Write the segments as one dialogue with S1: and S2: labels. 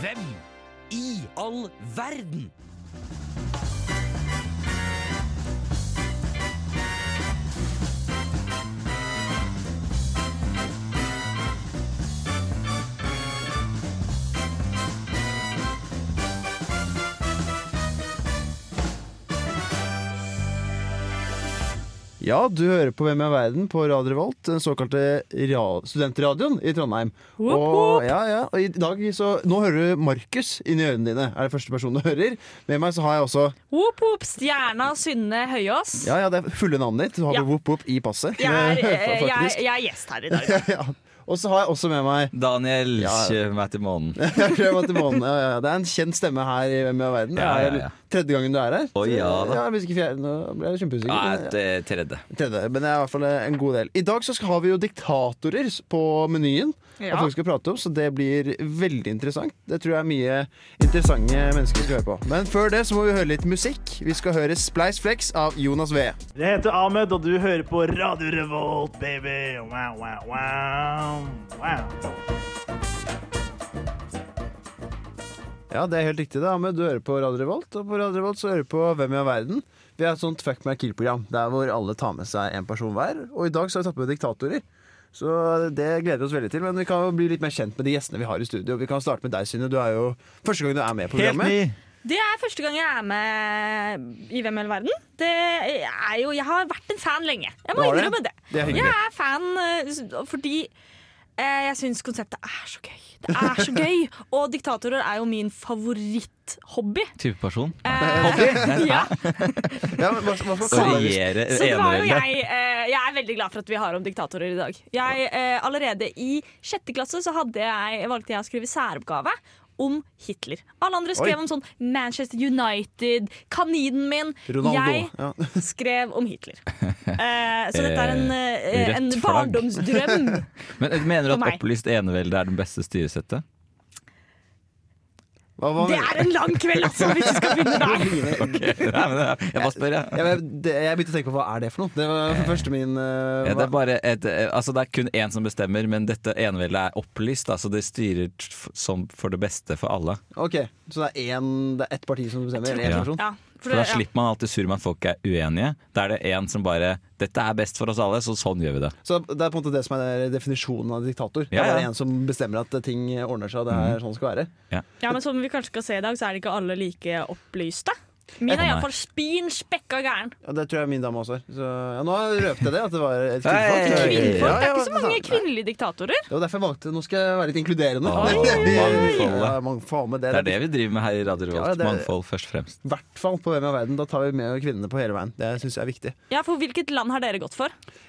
S1: Hvem i all verden?
S2: Ja, du hører på Hvem er verden på Radio Revolt, den såkalte ra studentradioen i Trondheim. Og, ja, ja, og i dag så Nå hører du Markus inni ørene dine, er det første personen du hører. Med meg så har jeg også
S3: Whoop, whoop, stjerna Synne Høyås.
S2: Ja, ja, det er fulle navnet ditt. Du har
S3: Ja.
S2: ja. Wop Wop i passet.
S3: Jeg, er, eh, jeg,
S2: Faktisk.
S3: jeg er gjest her i dag.
S2: Ja. Og så har jeg også med meg
S1: Daniel,
S2: Ja.
S1: kjøp meg til månen.
S2: Jeg prøver meg til månen. ja, ja, ja. Det er en kjent stemme her i Hvem er verden. Det
S1: Ja,
S2: er
S1: ja, ja.
S2: tredje gangen du er her.
S1: Å, ja da.
S2: ja, hvis ikke fjerde, nå ble jeg kjempeusikker.
S1: Ja,
S2: men-
S1: et eh, tredje.
S2: tredje, men det er i hvert fall en god del. I dag så skal, har vi jo diktatorer på menyen.
S3: Ja.
S2: At folk skal prate om, Så det blir veldig interessant. Det tror jeg er mye interessante mennesker skal høre på. Men før det så må vi høre litt musikk. Vi skal høre Splice Flex av Jonas V.
S4: Jeg heter Ahmed, og du hører på Radio Revolt, baby. Wow, wow, wow. wow.
S2: Ja, det er helt riktig, det, Ahmed. Du hører på Radio Revolt. Og på Radio Revolt så hører du på Hvem i all verden. Vi har et sånt Fuck meg kill-program der hvor alle tar med seg en person hver. Og i dag så har vi tatt med diktatorer. Så det gleder vi oss veldig til. Men vi kan jo bli litt mer kjent med de gjestene vi har i studio. Vi kan starte med deg, Synne. Du er jo første gang du er med i programmet.
S3: Det er første gang jeg er med i Hvem i all verden. Det er jo, jeg har vært en fan lenge. Jeg
S2: Du
S3: må
S2: har det?
S3: innrømme det.
S2: Det er hyggelig.
S3: jeg er fan eh, s- fordi eh, jeg syns konseptet er så gøy. Det er så gøy! Og diktatorer er jo min favoritthobby.
S1: Type person.
S3: Hobby? Ja.
S2: Ja, men hva, hva skal
S1: Å
S2: kalle det?
S1: regjere
S3: Så det var jo
S1: eneveldet.
S3: jeg, eh, jeg er veldig glad for at vi har om diktatorer i dag. Jeg, eh, allerede i sjette klasse så hadde jeg, valgte jeg å skrive særoppgave om Hitler. Alle andre skrev
S2: Oi.
S3: om sånn Manchester United, kaninen min.
S2: Ronaldo.
S3: Jeg
S2: Ja.
S3: skrev om Hitler. Eh, så dette er en,
S1: Eh,
S3: eh, en
S1: rødt flagg.
S3: barndomsdrøm.
S1: Men eh, mener du
S3: For
S1: at
S3: meg.
S1: opplyst enevelde er den beste styresettet?
S2: Hva, hva,
S3: Det er en lang kveld, altså, hvis vi skal begynne der.
S1: Nei, men eh, jeg, jeg bare spør, jeg.
S2: ja, men det, jeg begynte å tenke på hva er det for noe. Det var for første min eh,
S1: Ja, det, er
S2: hva-
S1: bare et, eh, altså det er kun én som bestemmer, men dette eneveldet er opplyst. da, Så det styrer t- f- som for det beste for alle.
S2: Ok, Så det er, en, det er ett parti som bestemmer? Eller
S1: Ja.
S2: én person?
S3: Ja, for
S1: For Da
S3: det- ja.
S1: slipper man alltid sur med at folk er uenige. Da er det én som bare 'Dette er best for oss alle, så sånn gjør vi det'.
S2: Så det er på en måte det som er definisjonen av diktator. Det
S1: Ja,
S2: er
S1: ja. Mhm.
S2: bare en som bestemmer at ting ordner seg, og det er sånn det skal være.
S3: Ja, men Som vi kanskje skal se i dag, så er det ikke alle like opplyste. Min er
S1: Nei.
S3: iallfall spin spekka gæren.
S2: Ja, det tror jeg min dame også er. Så ja, nå røpte jeg det, at det var et
S1: Hei!
S2: kvinnfolk. Ja,
S3: Kvinnfolk? Det er
S2: ja, altså,
S3: ikke så mange kvinnelige diktatorer.
S2: Det var derfor jeg valgte Nå skal jeg være litt inkluderende.
S1: Oi! Mangfoldet.
S2: Ja, mangfold med det.
S1: Det er det vi driver med her i Radio Revolt.
S2: Ja, det-
S1: Mangfold først og fremst.
S2: I hvert fall på Hvem er verden. Da tar vi med kvinnene på hele veien. Det syns jeg er viktig.
S3: Ja, for Hvilket land har dere gått for?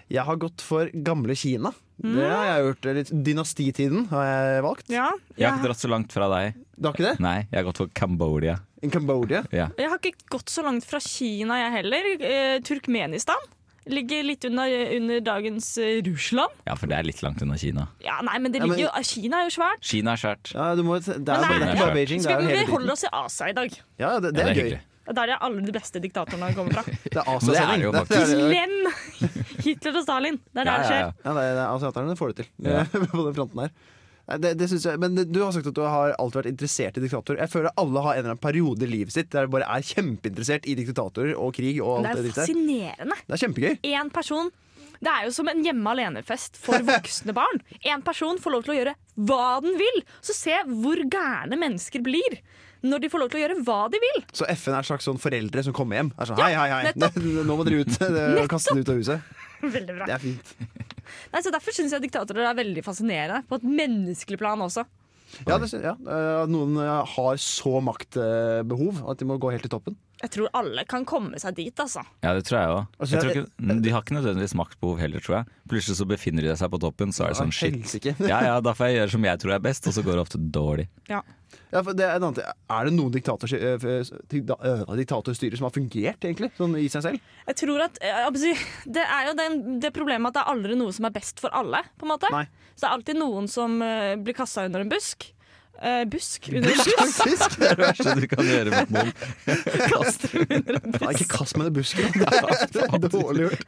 S2: Jeg har gått for gamle Kina. Det har jeg gjort. Litt dynastitiden har jeg valgt.
S3: Mhm. Ja,
S1: Jeg har ikke dratt så langt fra deg.
S2: Du har ikke det?
S1: Nei, jeg har gått for Cambodia.
S2: In Cambodia.
S1: Ja.
S3: Jeg har ikke gått så langt fra Kina, jeg heller. Eh, Turkmenistan ligger litt under, under dagens eh, Russland.
S1: ja, for det er litt langt unna Kina.
S3: Ja, nei, men det
S2: Ja, men-
S3: ligger jo, eh, Kina er jo svært.
S1: Kina er svært.
S2: Ja, du må, det er, jo bare, det er ikke
S1: nei.
S2: bare Beijing. Det er
S3: Skal
S2: jo
S3: vi
S2: hele
S3: holde
S2: tiden.
S3: oss i Asia i dag?
S2: Ja, det, det
S1: Ja,
S2: er gøy.
S1: hyggelig.
S3: Der er alle de beste diktatorene kommer fra.
S1: Men
S2: Det er
S1: det er
S2: Asia-sending.
S1: det jo
S2: Det er- det er-
S3: Glem Hitler og Stalin! Det er der det
S1: Ja, ja, ja.
S3: skjer.
S2: Ja, det er- det er asiaterne får det til.
S1: Ja.
S2: på den fronten her. Nei, Det, det synes jeg, men det- du har sagt at du har alltid vært interessert i diktatorer. Jeg føler alle har en eller annen periode i livet sitt der de bare er kjempeinteressert i diktatorer og krig. og alt
S3: Det er
S2: det
S3: jo
S2: dritt der.
S3: fascinerende.
S2: Det er kjempegøy.
S3: én person Det er jo som en hjemme alene-fest for voksne barn. Én person får lov til å gjøre hva den vil. Så se hvor gærne mennesker blir når de får lov til å gjøre hva de vil.
S2: Så FN er et slags sånn foreldre som kommer hjem. Er sånn,
S3: Ja,
S2: hei, hei, hei,
S3: nettopp.
S2: Nå må dere ut. Det- Kaste den ut av huset.
S3: Veldig bra.
S2: Det er fint.
S3: Nei, så Derfor syns jeg diktatorer er veldig fascinerende, på et menneskelig plan også.
S2: Ja, det, sy- ja. Eh, at noen eh, har så maktbehov at de må gå helt til toppen.
S3: Jeg tror alle kan komme seg dit, altså.
S1: Ja, det tror jeg òg.
S2: Altså,
S1: Jeg tror
S2: jeg-
S1: ikke- De har ikke nødvendigvis maktbehov heller, tror jeg. Plutselig så befinner de seg på toppen, så er det sånn shit.
S2: Helsike.
S1: Ja ja, da får jeg gjøre som jeg tror er best, og så går det ofte dårlig.
S3: Ja.
S2: Ja, for det er, en annen ting. er det noen diktator, eh, dikta- eh, diktatorstyrer som har fungert, egentlig? Sånn i seg selv?
S3: Jeg tror at eh, jeg vil si, Det er jo den, det problemet at det er aldri noe som er best for alle. på en måte
S2: Nei.
S3: Så det er alltid noen som eh, blir kasta under en busk. Eh, busk under en busk.
S2: Faktisk! Det er det verste.
S5: Så du kan gjøre mot noen.
S2: Nei, ikke kast meg i busken. Det er- det er dårlig gjort.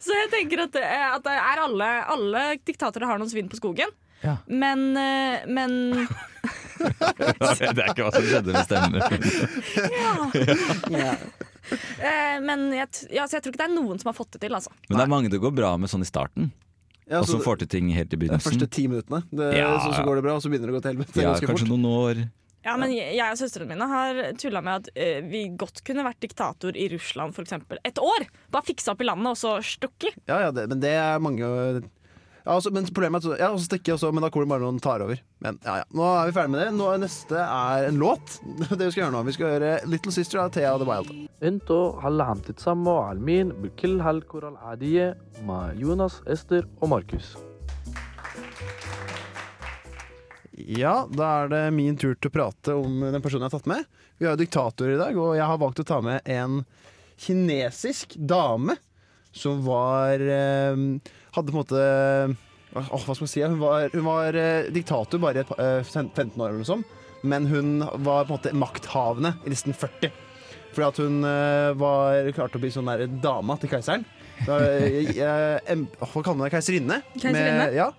S3: Så jeg tenker at, det er- at det er alle, alle diktatorer har noen svin på skogen.
S5: Ja.
S3: Men, eh, men
S5: Det er ikke hva som skjedde med stemmen.
S3: Eh, men jeg, t- ja, så jeg tror ikke det er noen som har fått det til. Altså.
S5: Men det er mange det går bra med sånn i starten,
S2: Ja,
S5: og som
S2: så-
S5: får til ting helt i
S2: de Altså, første
S5: begynnelsen.
S2: ti minuttene, det,
S5: Ja,
S2: så, så
S5: ja.
S2: går det bra, og så begynner det å gå til helvete.
S5: Ja,
S2: ganske
S5: kanskje
S2: fort.
S5: noen år.
S3: Ja, men jeg jeg og søstrene mine har tulla med at eh, vi godt kunne vært diktator i Russland f.eks. et år. Bare fiksa opp i landet og så stukket.
S2: Ja, ja, det, men det er mange ja, altså, Men problemet er at ja, og så stikker jeg også, men da kommer det bare noen tar over. Men ja, ja. Nå er vi ferdig med det. Nå er neste er en låt. Det vi skal gjøre nå. Vi skal høre Little Sister av Thea og The Wild.
S6: انتوا هلا عم تتسمعوا على المين بكل هالكرة العادية مع يونس استر وماركوس
S2: Ja, da er det min tur til å prate om den personen jeg har tatt med. Vi har jo diktatorer i dag, og jeg har valgt å ta med en kinesisk dame som var eh, Hadde på en måte åh, Hva skal man si? Hun var, hun var eh, diktator bare i et, pa- eh, 15 år, eller noe sånt. Men hun var på en måte makthavende i nesten 40. Fordi at hun eh, var, klarte å bli sånn der dama til keiseren. Da, eh, eh, em- åh, hva kaller man det? Keiserinne?
S3: Keiserinne?
S2: Med- ja.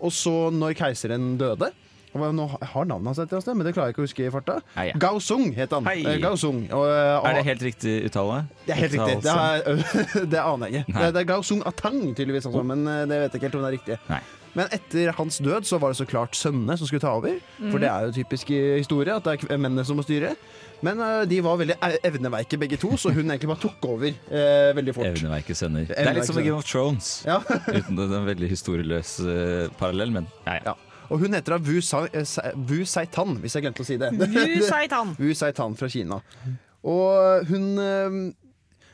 S2: Og så, når keiseren døde og hva- nå har- Jeg har navnet hans et eller annet sted, men det klarer jeg ikke å huske i farta.
S5: Nei, ja.
S2: Gao Sung het han.
S5: Hei.
S2: Eh, Gao Sung. Og, eh,
S5: Er det helt riktig uttale?
S2: det er helt riktig. Det,
S1: altså.
S5: Uttalelse?
S2: er, det aner jeg ikke.
S5: Nei. Oh.
S2: Det, det er Gao Sung Atang, tydeligvis, altså, men eh, det vet jeg ikke helt om det er riktig.
S5: Nei.
S2: Men etter hans død så var det så klart sønnene som skulle ta over.
S5: Mhm.
S2: For det er jo typisk i historie at det er kv- mennene som må styre. Men eh, de var veldig e- evneveike begge to, så hun egentlig bare tok over eh, veldig fort.
S5: Evneverket sønner. Det er litt som i Game of Thrones.
S2: Ja.
S5: Uten det, det er en veldig historieløs eh, parallell, men ja, ja.
S2: Ja. Og hun heter da Wu, Sa eh, Sa- Wu Saitan, hvis jeg glemte å si det.
S3: Du, seitan!
S2: Wu Saitan fra Kina. Og hun eh,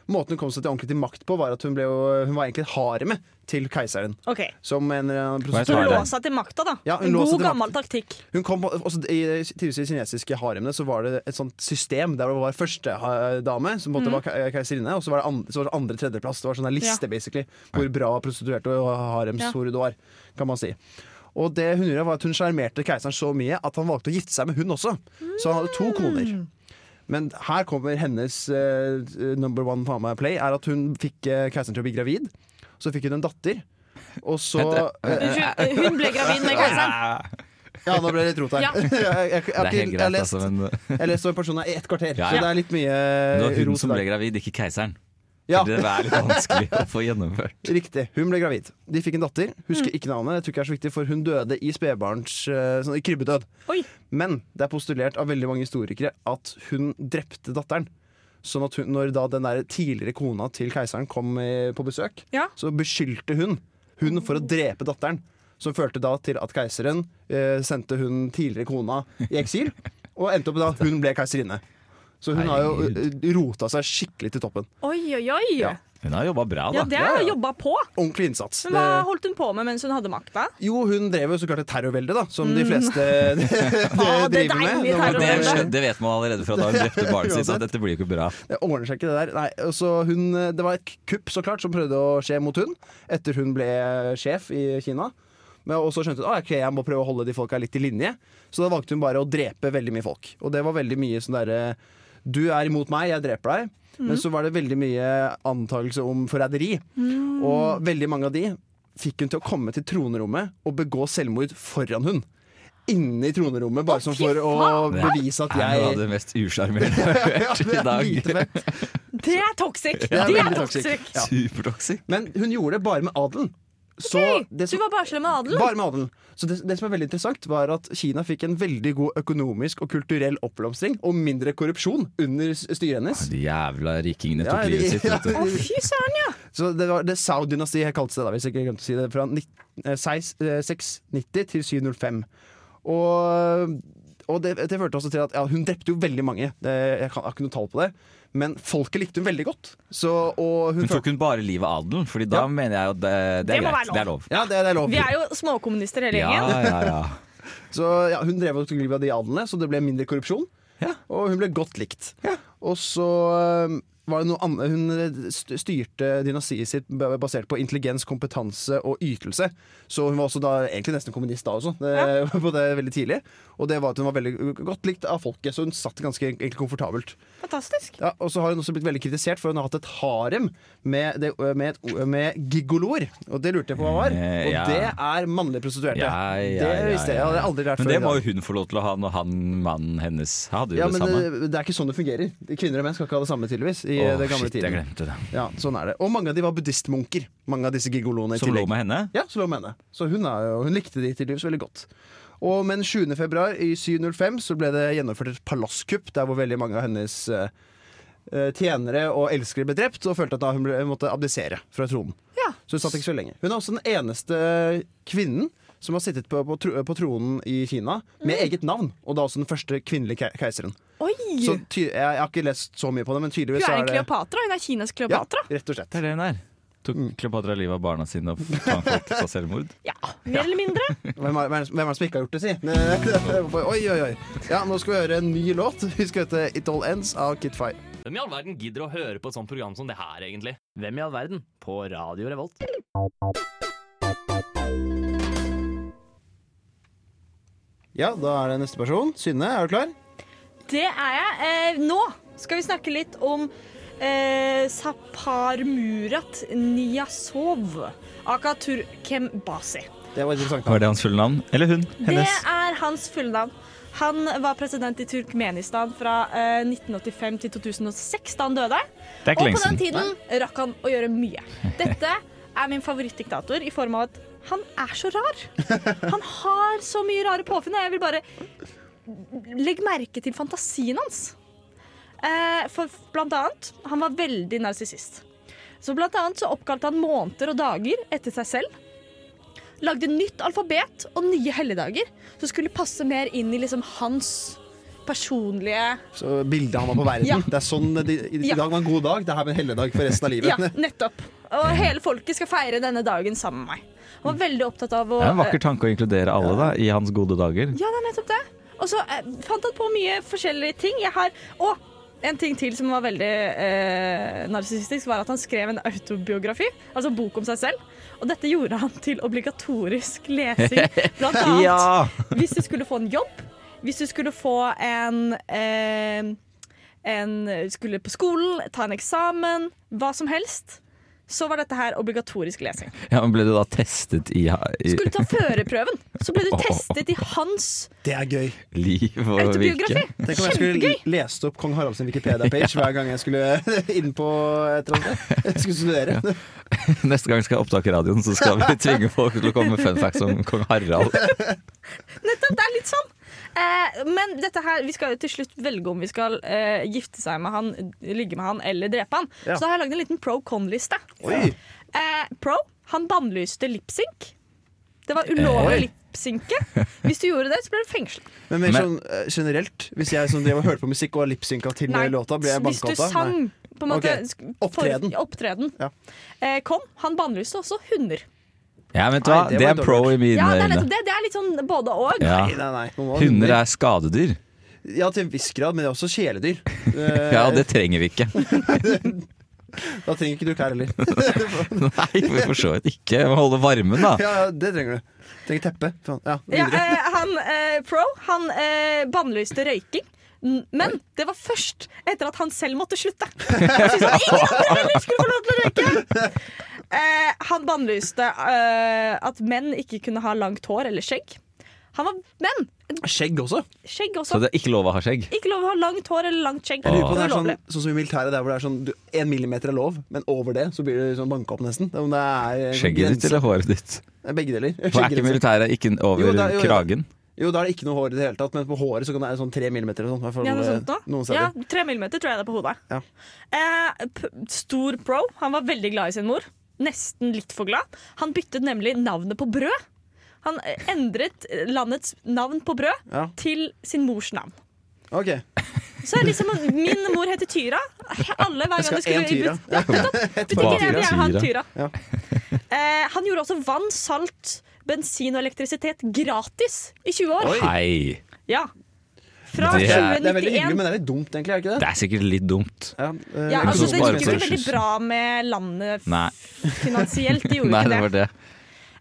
S2: Måten hun kom seg til ordentlig til makt på, var at hun, ble jo, hun var egentlig haremet til keiseren.
S3: Ok,
S2: Som en eller annen
S5: Hva er
S3: Så
S5: det?
S2: prostitu-
S3: hun lå seg til makta, da.
S2: Ja, hun
S3: en
S2: lå seg
S3: god,
S2: til makta.
S3: gammel taktikk.
S2: Hun kom på, også I tidligere kinesiske haremene Så var det et sånt system der det var første eh, dame, som på en måte var ke- keiserinne, og så var det andre, så var det andre tredjeplass. Det var sånn en liste, basically, hvor bra prostituerte og
S3: Ja.
S2: haremshore du var, kan man si. Og det hun gjorde var at hun sjarmerte keiseren så mye at han valgte å gifte seg med hun også. Så han hadde to koner. Men her kommer hennes eh, number one fama play, er at hun fikk eh, keiseren til å bli gravid. Så fikk hun en datter. Og så Eh,
S3: Unnskyld, eh, hun ble gravid med keiseren.
S2: Ja, nå ble det litt rot her.
S3: Ja.
S2: Jeg, jeg, jeg, jeg,
S5: Det er
S2: jeg,
S5: helt
S2: jeg har
S5: greit,
S2: lest
S5: altså, men det
S2: jeg leste om en person her i ett kvarter,
S5: Ja,
S2: så
S5: ja.
S2: det er litt mye
S5: var hun
S2: rot
S5: som
S2: i
S5: ble
S2: dag.
S5: gravid, ikke keiseren.
S2: Ja,
S5: Det er litt vanskelig å få gjennomført.
S2: riktig. Hun ble gravid. De fikk en datter. Husker ikke navnet, jeg tror ikke det er så viktig, for hun døde i spedbarns eh, sånn, i krybbedød.
S3: Oi.
S2: Men det er postulert av veldig mange historikere at hun drepte datteren. Sånn at hun, når da den der tidligere kona til keiseren kom eh, på besøk,
S3: Ja.
S2: så beskyldte hun hun for å drepe datteren. Som førte da til at keiseren eh, sendte hun tidligere kona i eksil, og endte opp med at hun ble keiserinne. Så hun har jo eh, rota seg skikkelig til toppen.
S3: Oi, oi, oi.
S2: Ja.
S3: Ja,
S5: Hun har jobba bra, da.
S3: det er
S2: Ja,
S3: jo
S2: ja.
S3: jobba på.
S2: Ordentlig innsats.
S3: Men hva
S2: Det-
S3: holdt hun på med mens hun hadde makta?
S2: Jo, hun drev jo så klart et terrorvelde, da, som de fleste de,
S3: Ah, det er
S2: driver med. Da må-
S3: deilig
S5: Det,
S3: terrorvelde.
S5: skjøn- det vet man allerede fra da hun drepte barnet sitt, så dette blir jo ikke bra.
S2: Det ordner seg ikke, det der. Nei, og så hun, det var et kupp så klart som prøvde å skje mot hun etter hun ble sjef i Kina. Men, og så skjønte hun at ok, jeg må prøve å holde de folka litt i linje, så da valgte hun bare å drepe veldig mye folk. Og det var veldig mye sånn derre Du er imot meg, jeg dreper deg. Men så var det veldig mye antakelse om forræderi. Og veldig mange av de fikk hun til å komme til tronerommet og begå selvmord foran hun. Inne i tronerommet, bare som for å
S5: faen!
S2: bevise at
S5: Er noe av
S2: jeg
S5: det mest usjarmerende jeg har
S2: ja,
S5: hørt
S2: det
S5: i
S2: er
S5: dag.
S2: lite fett.
S3: Det er toxic!
S2: Ja,
S3: det er
S2: veldig toxic.
S3: toxic.
S2: Ja.
S5: Supertoxic.
S2: Men hun gjorde det bare med adelen. Så
S3: Hei,
S2: det
S3: du
S2: som,
S3: var bare slem med adelen.
S2: bare med adelen. Så det, det som er veldig interessant, var at Kina fikk en veldig god økonomisk og kulturell oppblomstring og mindre korrupsjon under s- styret hennes.
S5: De jævla rikingene
S2: Ja,
S5: tok
S2: de-
S5: livet sitt.
S2: ja,
S5: vet du.
S3: Å, fy søren, ja.
S2: Så det var det Sao-dynastiet jeg kalte det, da, hvis jeg ikke glemte å si det, fra 19, eh, 6, eh, 690 til 705. Og, og det, det førte også til at ja, hun drepte jo veldig mange. Det, jeg, kan, jeg har ikke noe tall på det. Men folket likte hun veldig godt. Så, og hun
S5: Men tok hun bare livet av adelen? Fordi da
S2: Ja.
S5: mener jeg jo det, det
S3: Det
S5: er
S3: må
S5: greit.
S3: være
S5: Det er lov.
S2: Ja, det, det er lov.
S3: Vi er jo småkommunister hele
S5: Ja,
S3: gjengen.
S5: ja, ja.
S2: Så ja, Hun drev og tok livet av de adelene, så det ble mindre korrupsjon.
S5: Ja.
S2: Og hun ble godt likt.
S5: Ja.
S2: Og så øhm, var det noe annet Hun eh, st- styrte dynastiet sitt b- basert på intelligens, kompetanse og ytelse. Så hun var også da egentlig nesten kommunist da også, det, på det veldig tidlig. Og det var at hun var veldig godt likt av folket, så hun satt ganske egentlig komfortabelt.
S3: Fantastisk.
S2: Ja, og så har hun også blitt veldig kritisert for hun har hatt et harem med, det, med, et, med gigoloer. Og det lurte jeg på hva var.
S5: Eh,
S2: Og
S5: ja.
S2: det er mannlige prostituerte.
S5: Ja, ja, ja,
S2: det visste jeg. Jeg hadde aldri lært
S5: Men
S2: før.
S5: det
S2: i
S5: må
S2: dag.
S5: jo hun få lov til å ha når han, mannen hennes hadde jo
S2: ja,
S5: det
S2: men
S5: samme.
S2: det, det er ikke sånn det fungerer. Kvinner og menn skal ikke ha det samme, tydeligvis. I eh,
S5: Åh,
S2: det gamle
S5: shit, jeg
S2: tiden.
S5: glemte det.
S2: Ja, sånn er det. Og mange av de var buddhistmunker. Mange av disse gigoloene i
S5: Som lå
S2: tillegg.
S5: med henne?
S2: Ja, så lå med henne. Så hun, er, jo- hun likte de til livs veldig godt. Og men 7. februar i 705 så ble det gjennomført et palasskupp der hvor veldig mange av hennes eh, eh, tjenere og elskere ble drept, og følte at da hun ble, måtte abdisere fra tronen.
S3: Ja.
S2: Så hun satt ikke så lenge. Hun er også den eneste eh, kvinnen som har sittet på, på, tro, på tronen i Kina med eget navn, og da også den første kvinnelige kei- keiseren.
S3: Oi!
S2: Så ty jeg, jeg har ikke lest så mye på det, men
S3: Hun
S2: tydeligvis
S3: er
S2: så
S3: en
S2: er det
S3: Kleopatra. Hun er Kinas
S2: Ja,
S3: Kleopatra.
S2: rett og slett.
S5: Det er det hun er. Tok
S2: Mm.
S5: Kleopatra livet av barna sine og tvang folk til å ta selvmord?
S3: Ja, Mer eller mindre.
S2: Hvem er, hvem er hvem er det som ikke har gjort det, si? oi, oi, oi. Ja, nå skal vi høre en ny låt. Vi skal hete It All Ends av Kit Fire.
S7: Hvem i all verden gidder å høre på et sånt program som det her, egentlig? Hvem i all verden? På Radio Revolt.
S2: Ja, da er det neste person. Synne, er du klar?
S3: Det er jeg. Eh, nå skal vi snakke litt om eh, Sapar Murat Niyazov, aka Turkem Basi.
S2: Det var interessant.
S5: Var det hans fulle navn? Eller hun? Hennes?
S3: Det er hans fulle navn. Han var president i Turkmenistan fra eh, 1985 til 2006, da han døde.
S5: Det, er ikke
S3: Og
S5: lenge
S3: på den
S5: siden.
S3: tiden rakk han å gjøre mye. Dette er min favorittdiktator i form av at han er så rar. Han har så mye rare påfunn, og jeg vil bare legge merke til fantasien hans. Eh, For blant annet, han var veldig narsissist. Så blant annet så oppkalte han måneder og dager etter seg selv. Lagde nytt alfabet og nye helligdager som skulle passe mer inn i liksom hans personlige
S2: Så bildet han var på verden.
S3: Ja.
S2: Det er sånn, de, I i
S3: Ja.
S2: dag var en god dag. Det her blir en helligdag for resten av
S3: Ja,
S2: livet.
S3: nettopp. Og
S5: Mm.
S3: hele folket skal feire denne dagen sammen med meg. Han var veldig opptatt av å eh,
S5: Det er en vakker tanke å inkludere alle da, i hans gode dager.
S3: Ja, det er nettopp det. Og så eh, fant han på mye forskjellige ting. Jeg har Og en ting til som var veldig eh, narsissistisk, var at han skrev en autobiografi, altså bok om seg selv. Og dette gjorde han til obligatorisk lesing, blant annet hvis du skulle få en jobb, hvis du skulle få en, eh, en Skulle på skolen, ta en eksamen, hva som helst, så var dette her obligatorisk lesing.
S5: Ja, men Ble du da testet i, ha- i
S3: Skulle ta førerprøven, så ble du testet i hans
S2: Det er gøy.
S5: liv og
S3: autobiografi.
S5: virke?
S2: Tenk om jeg skulle
S3: Kjempegøy!
S2: lest opp kong Haralds Wikipedia-page hver gang jeg skulle inn på et eller annet. Jeg skulle studere.
S5: Neste gang skal jeg opptake radioen, så skal vi tvinge folk til å komme med fun facts om kong Harald.
S3: Nettopp, det er litt sånn. Eh, men dette her, vi skal jo til slutt velge om vi skal eh, gifte seg med han, ligge med han eller drepe han.
S2: Ja.
S3: Så da har jeg lagd en liten pro con-liste.
S2: Oi.
S3: Eh, Pro, han bannlyste lipsync. Det var ulovlig å lipsynke. Hvis du gjorde det, så ble du fengsla.
S2: Men, mer
S5: Men-
S2: sånn eh, generelt, hvis jeg som drev og hørte på musikk og lipsynka til låta, ble jeg
S3: hvis du
S2: banka opp av?
S3: sang på en måte
S2: Ok,
S3: sk-
S2: opptreden.
S3: For, opptreden.
S2: Ja.
S3: Eh, kom, han bannlyste også hunder.
S5: Ja, men vet du hva?
S2: Nei, det
S5: Det
S2: var
S5: er pro i mine
S3: Ja, det er,
S5: øyne.
S3: nettopp det, det er litt sånn både og.
S5: Ja.
S2: Nei, nei, nei. Man må-
S5: Hunder er skadedyr.
S2: Ja, til en viss grad, men det er også kjæledyr.
S5: Ja,
S2: Eh,
S5: det trenger vi ikke.
S2: Da trenger ikke du klær heller.
S5: Nei, vi for så vidt ikke. Vi må holde varmen, da.
S2: Ja, ja, det trenger du. Trenger teppe. Faen. Ja,
S3: Ja,
S2: videre.
S3: eh, han eh, Pro, han eh, bannlyste røyking. N- Men det var først etter at han selv måtte slutte. Han syntes at ingen andre heller skulle få lov til å røyke! Eh, han bannlyste eh, at menn ikke kunne ha langt hår eller skjegg. Han var menn.
S2: Skjegg også.
S3: Skjegg
S5: Så
S3: også.
S5: det er ikke lov å ha skjegg.
S3: Ikke lov å ha langt hår eller langt skjegg.
S5: Jeg
S2: Lurer på om det er sånn,
S3: Ulovlig.
S2: sånn som i militæret, der hvor det er sånn du, en millimeter er lov, men over det så blir det liksom banka opp nesten. Det er Om det er eh,
S5: Skjegget ditt
S2: grenser.
S5: eller håret ditt?
S2: Det er Begge deler.
S5: For er ikke
S2: Skjegggrenser.
S5: militæret ikke
S2: Jo,
S5: over
S2: det er- jo, jo.
S5: kragen?
S2: Jo, da er det ikke noe hår i det hele tatt, men på håret så kan det være sånn tre millimeter eller sånt. i hvert fall,
S3: Ja, noe sånt
S2: eh, Noen
S3: nå. Ja,
S2: steder.
S3: Tre millimeter tror jeg det er på hodet.
S2: Ja.
S3: Eh, p stor pro. Han var veldig glad i sin mor. Nesten litt for glad. Han byttet nemlig navnet på brød. Han eh, endret eh, landets navn på brød
S2: Ja.
S3: til sin mors navn.
S2: Ok.
S3: Så er liksom, Min mor heter Tyra. Alle hver
S2: Jeg
S3: gang
S2: skal ha
S3: det skulle
S2: én tyra.
S3: Ja, nettopp. Butikker er
S5: Tyra.
S3: gjerne han Tyra.
S2: Ja.
S3: Eh, han gjorde også vann, salt, bensin og elektrisitet gratis i 20 år.
S5: Hei!
S3: Ja. Fra
S5: Det
S2: er, det er veldig hyggelig,
S3: 2091.
S2: men det er litt dumt, egentlig. er det ikke det?
S5: Det er sikkert litt dumt.
S2: Ja, eh,
S3: Ja, altså, det
S5: Spare
S3: gikk jo ikke
S5: på
S3: veldig
S5: ressurser.
S3: bra med landet f-
S5: Nei.
S3: finansielt. Det gjorde
S5: Nei,
S3: ikke
S5: det
S3: det.
S5: var det.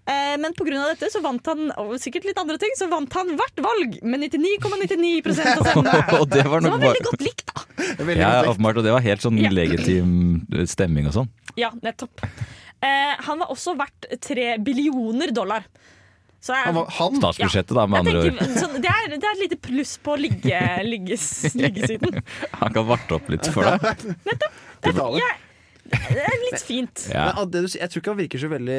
S3: Eh, Men pga. dette så vant han og sikkert litt andre ting, så vant han hvert valg med 99,99 av stemmene.
S5: Og det var
S3: Så det
S5: nok
S3: var
S5: bare
S3: veldig godt likt, da.
S2: veldig
S5: Ja,
S2: godt likt.
S5: åpenbart. Og det var helt sånn
S3: Ja.
S5: legitim stemming og sånn.
S3: Ja, nettopp. Eh, han var også verdt tre billioner dollar. Så jeg,
S2: Han var, han,
S5: Statsbudsjettet, da, med
S3: jeg
S5: andre ord.
S3: tenker, sånn, det, er, det er et lite pluss på ligge, ligges, liggesiden.
S5: Han kan varte opp litt for deg.
S2: betaler.
S3: Jeg, det er litt fint.
S5: Ja.
S2: Men at det du, sier- jeg tror ikke han virker så veldig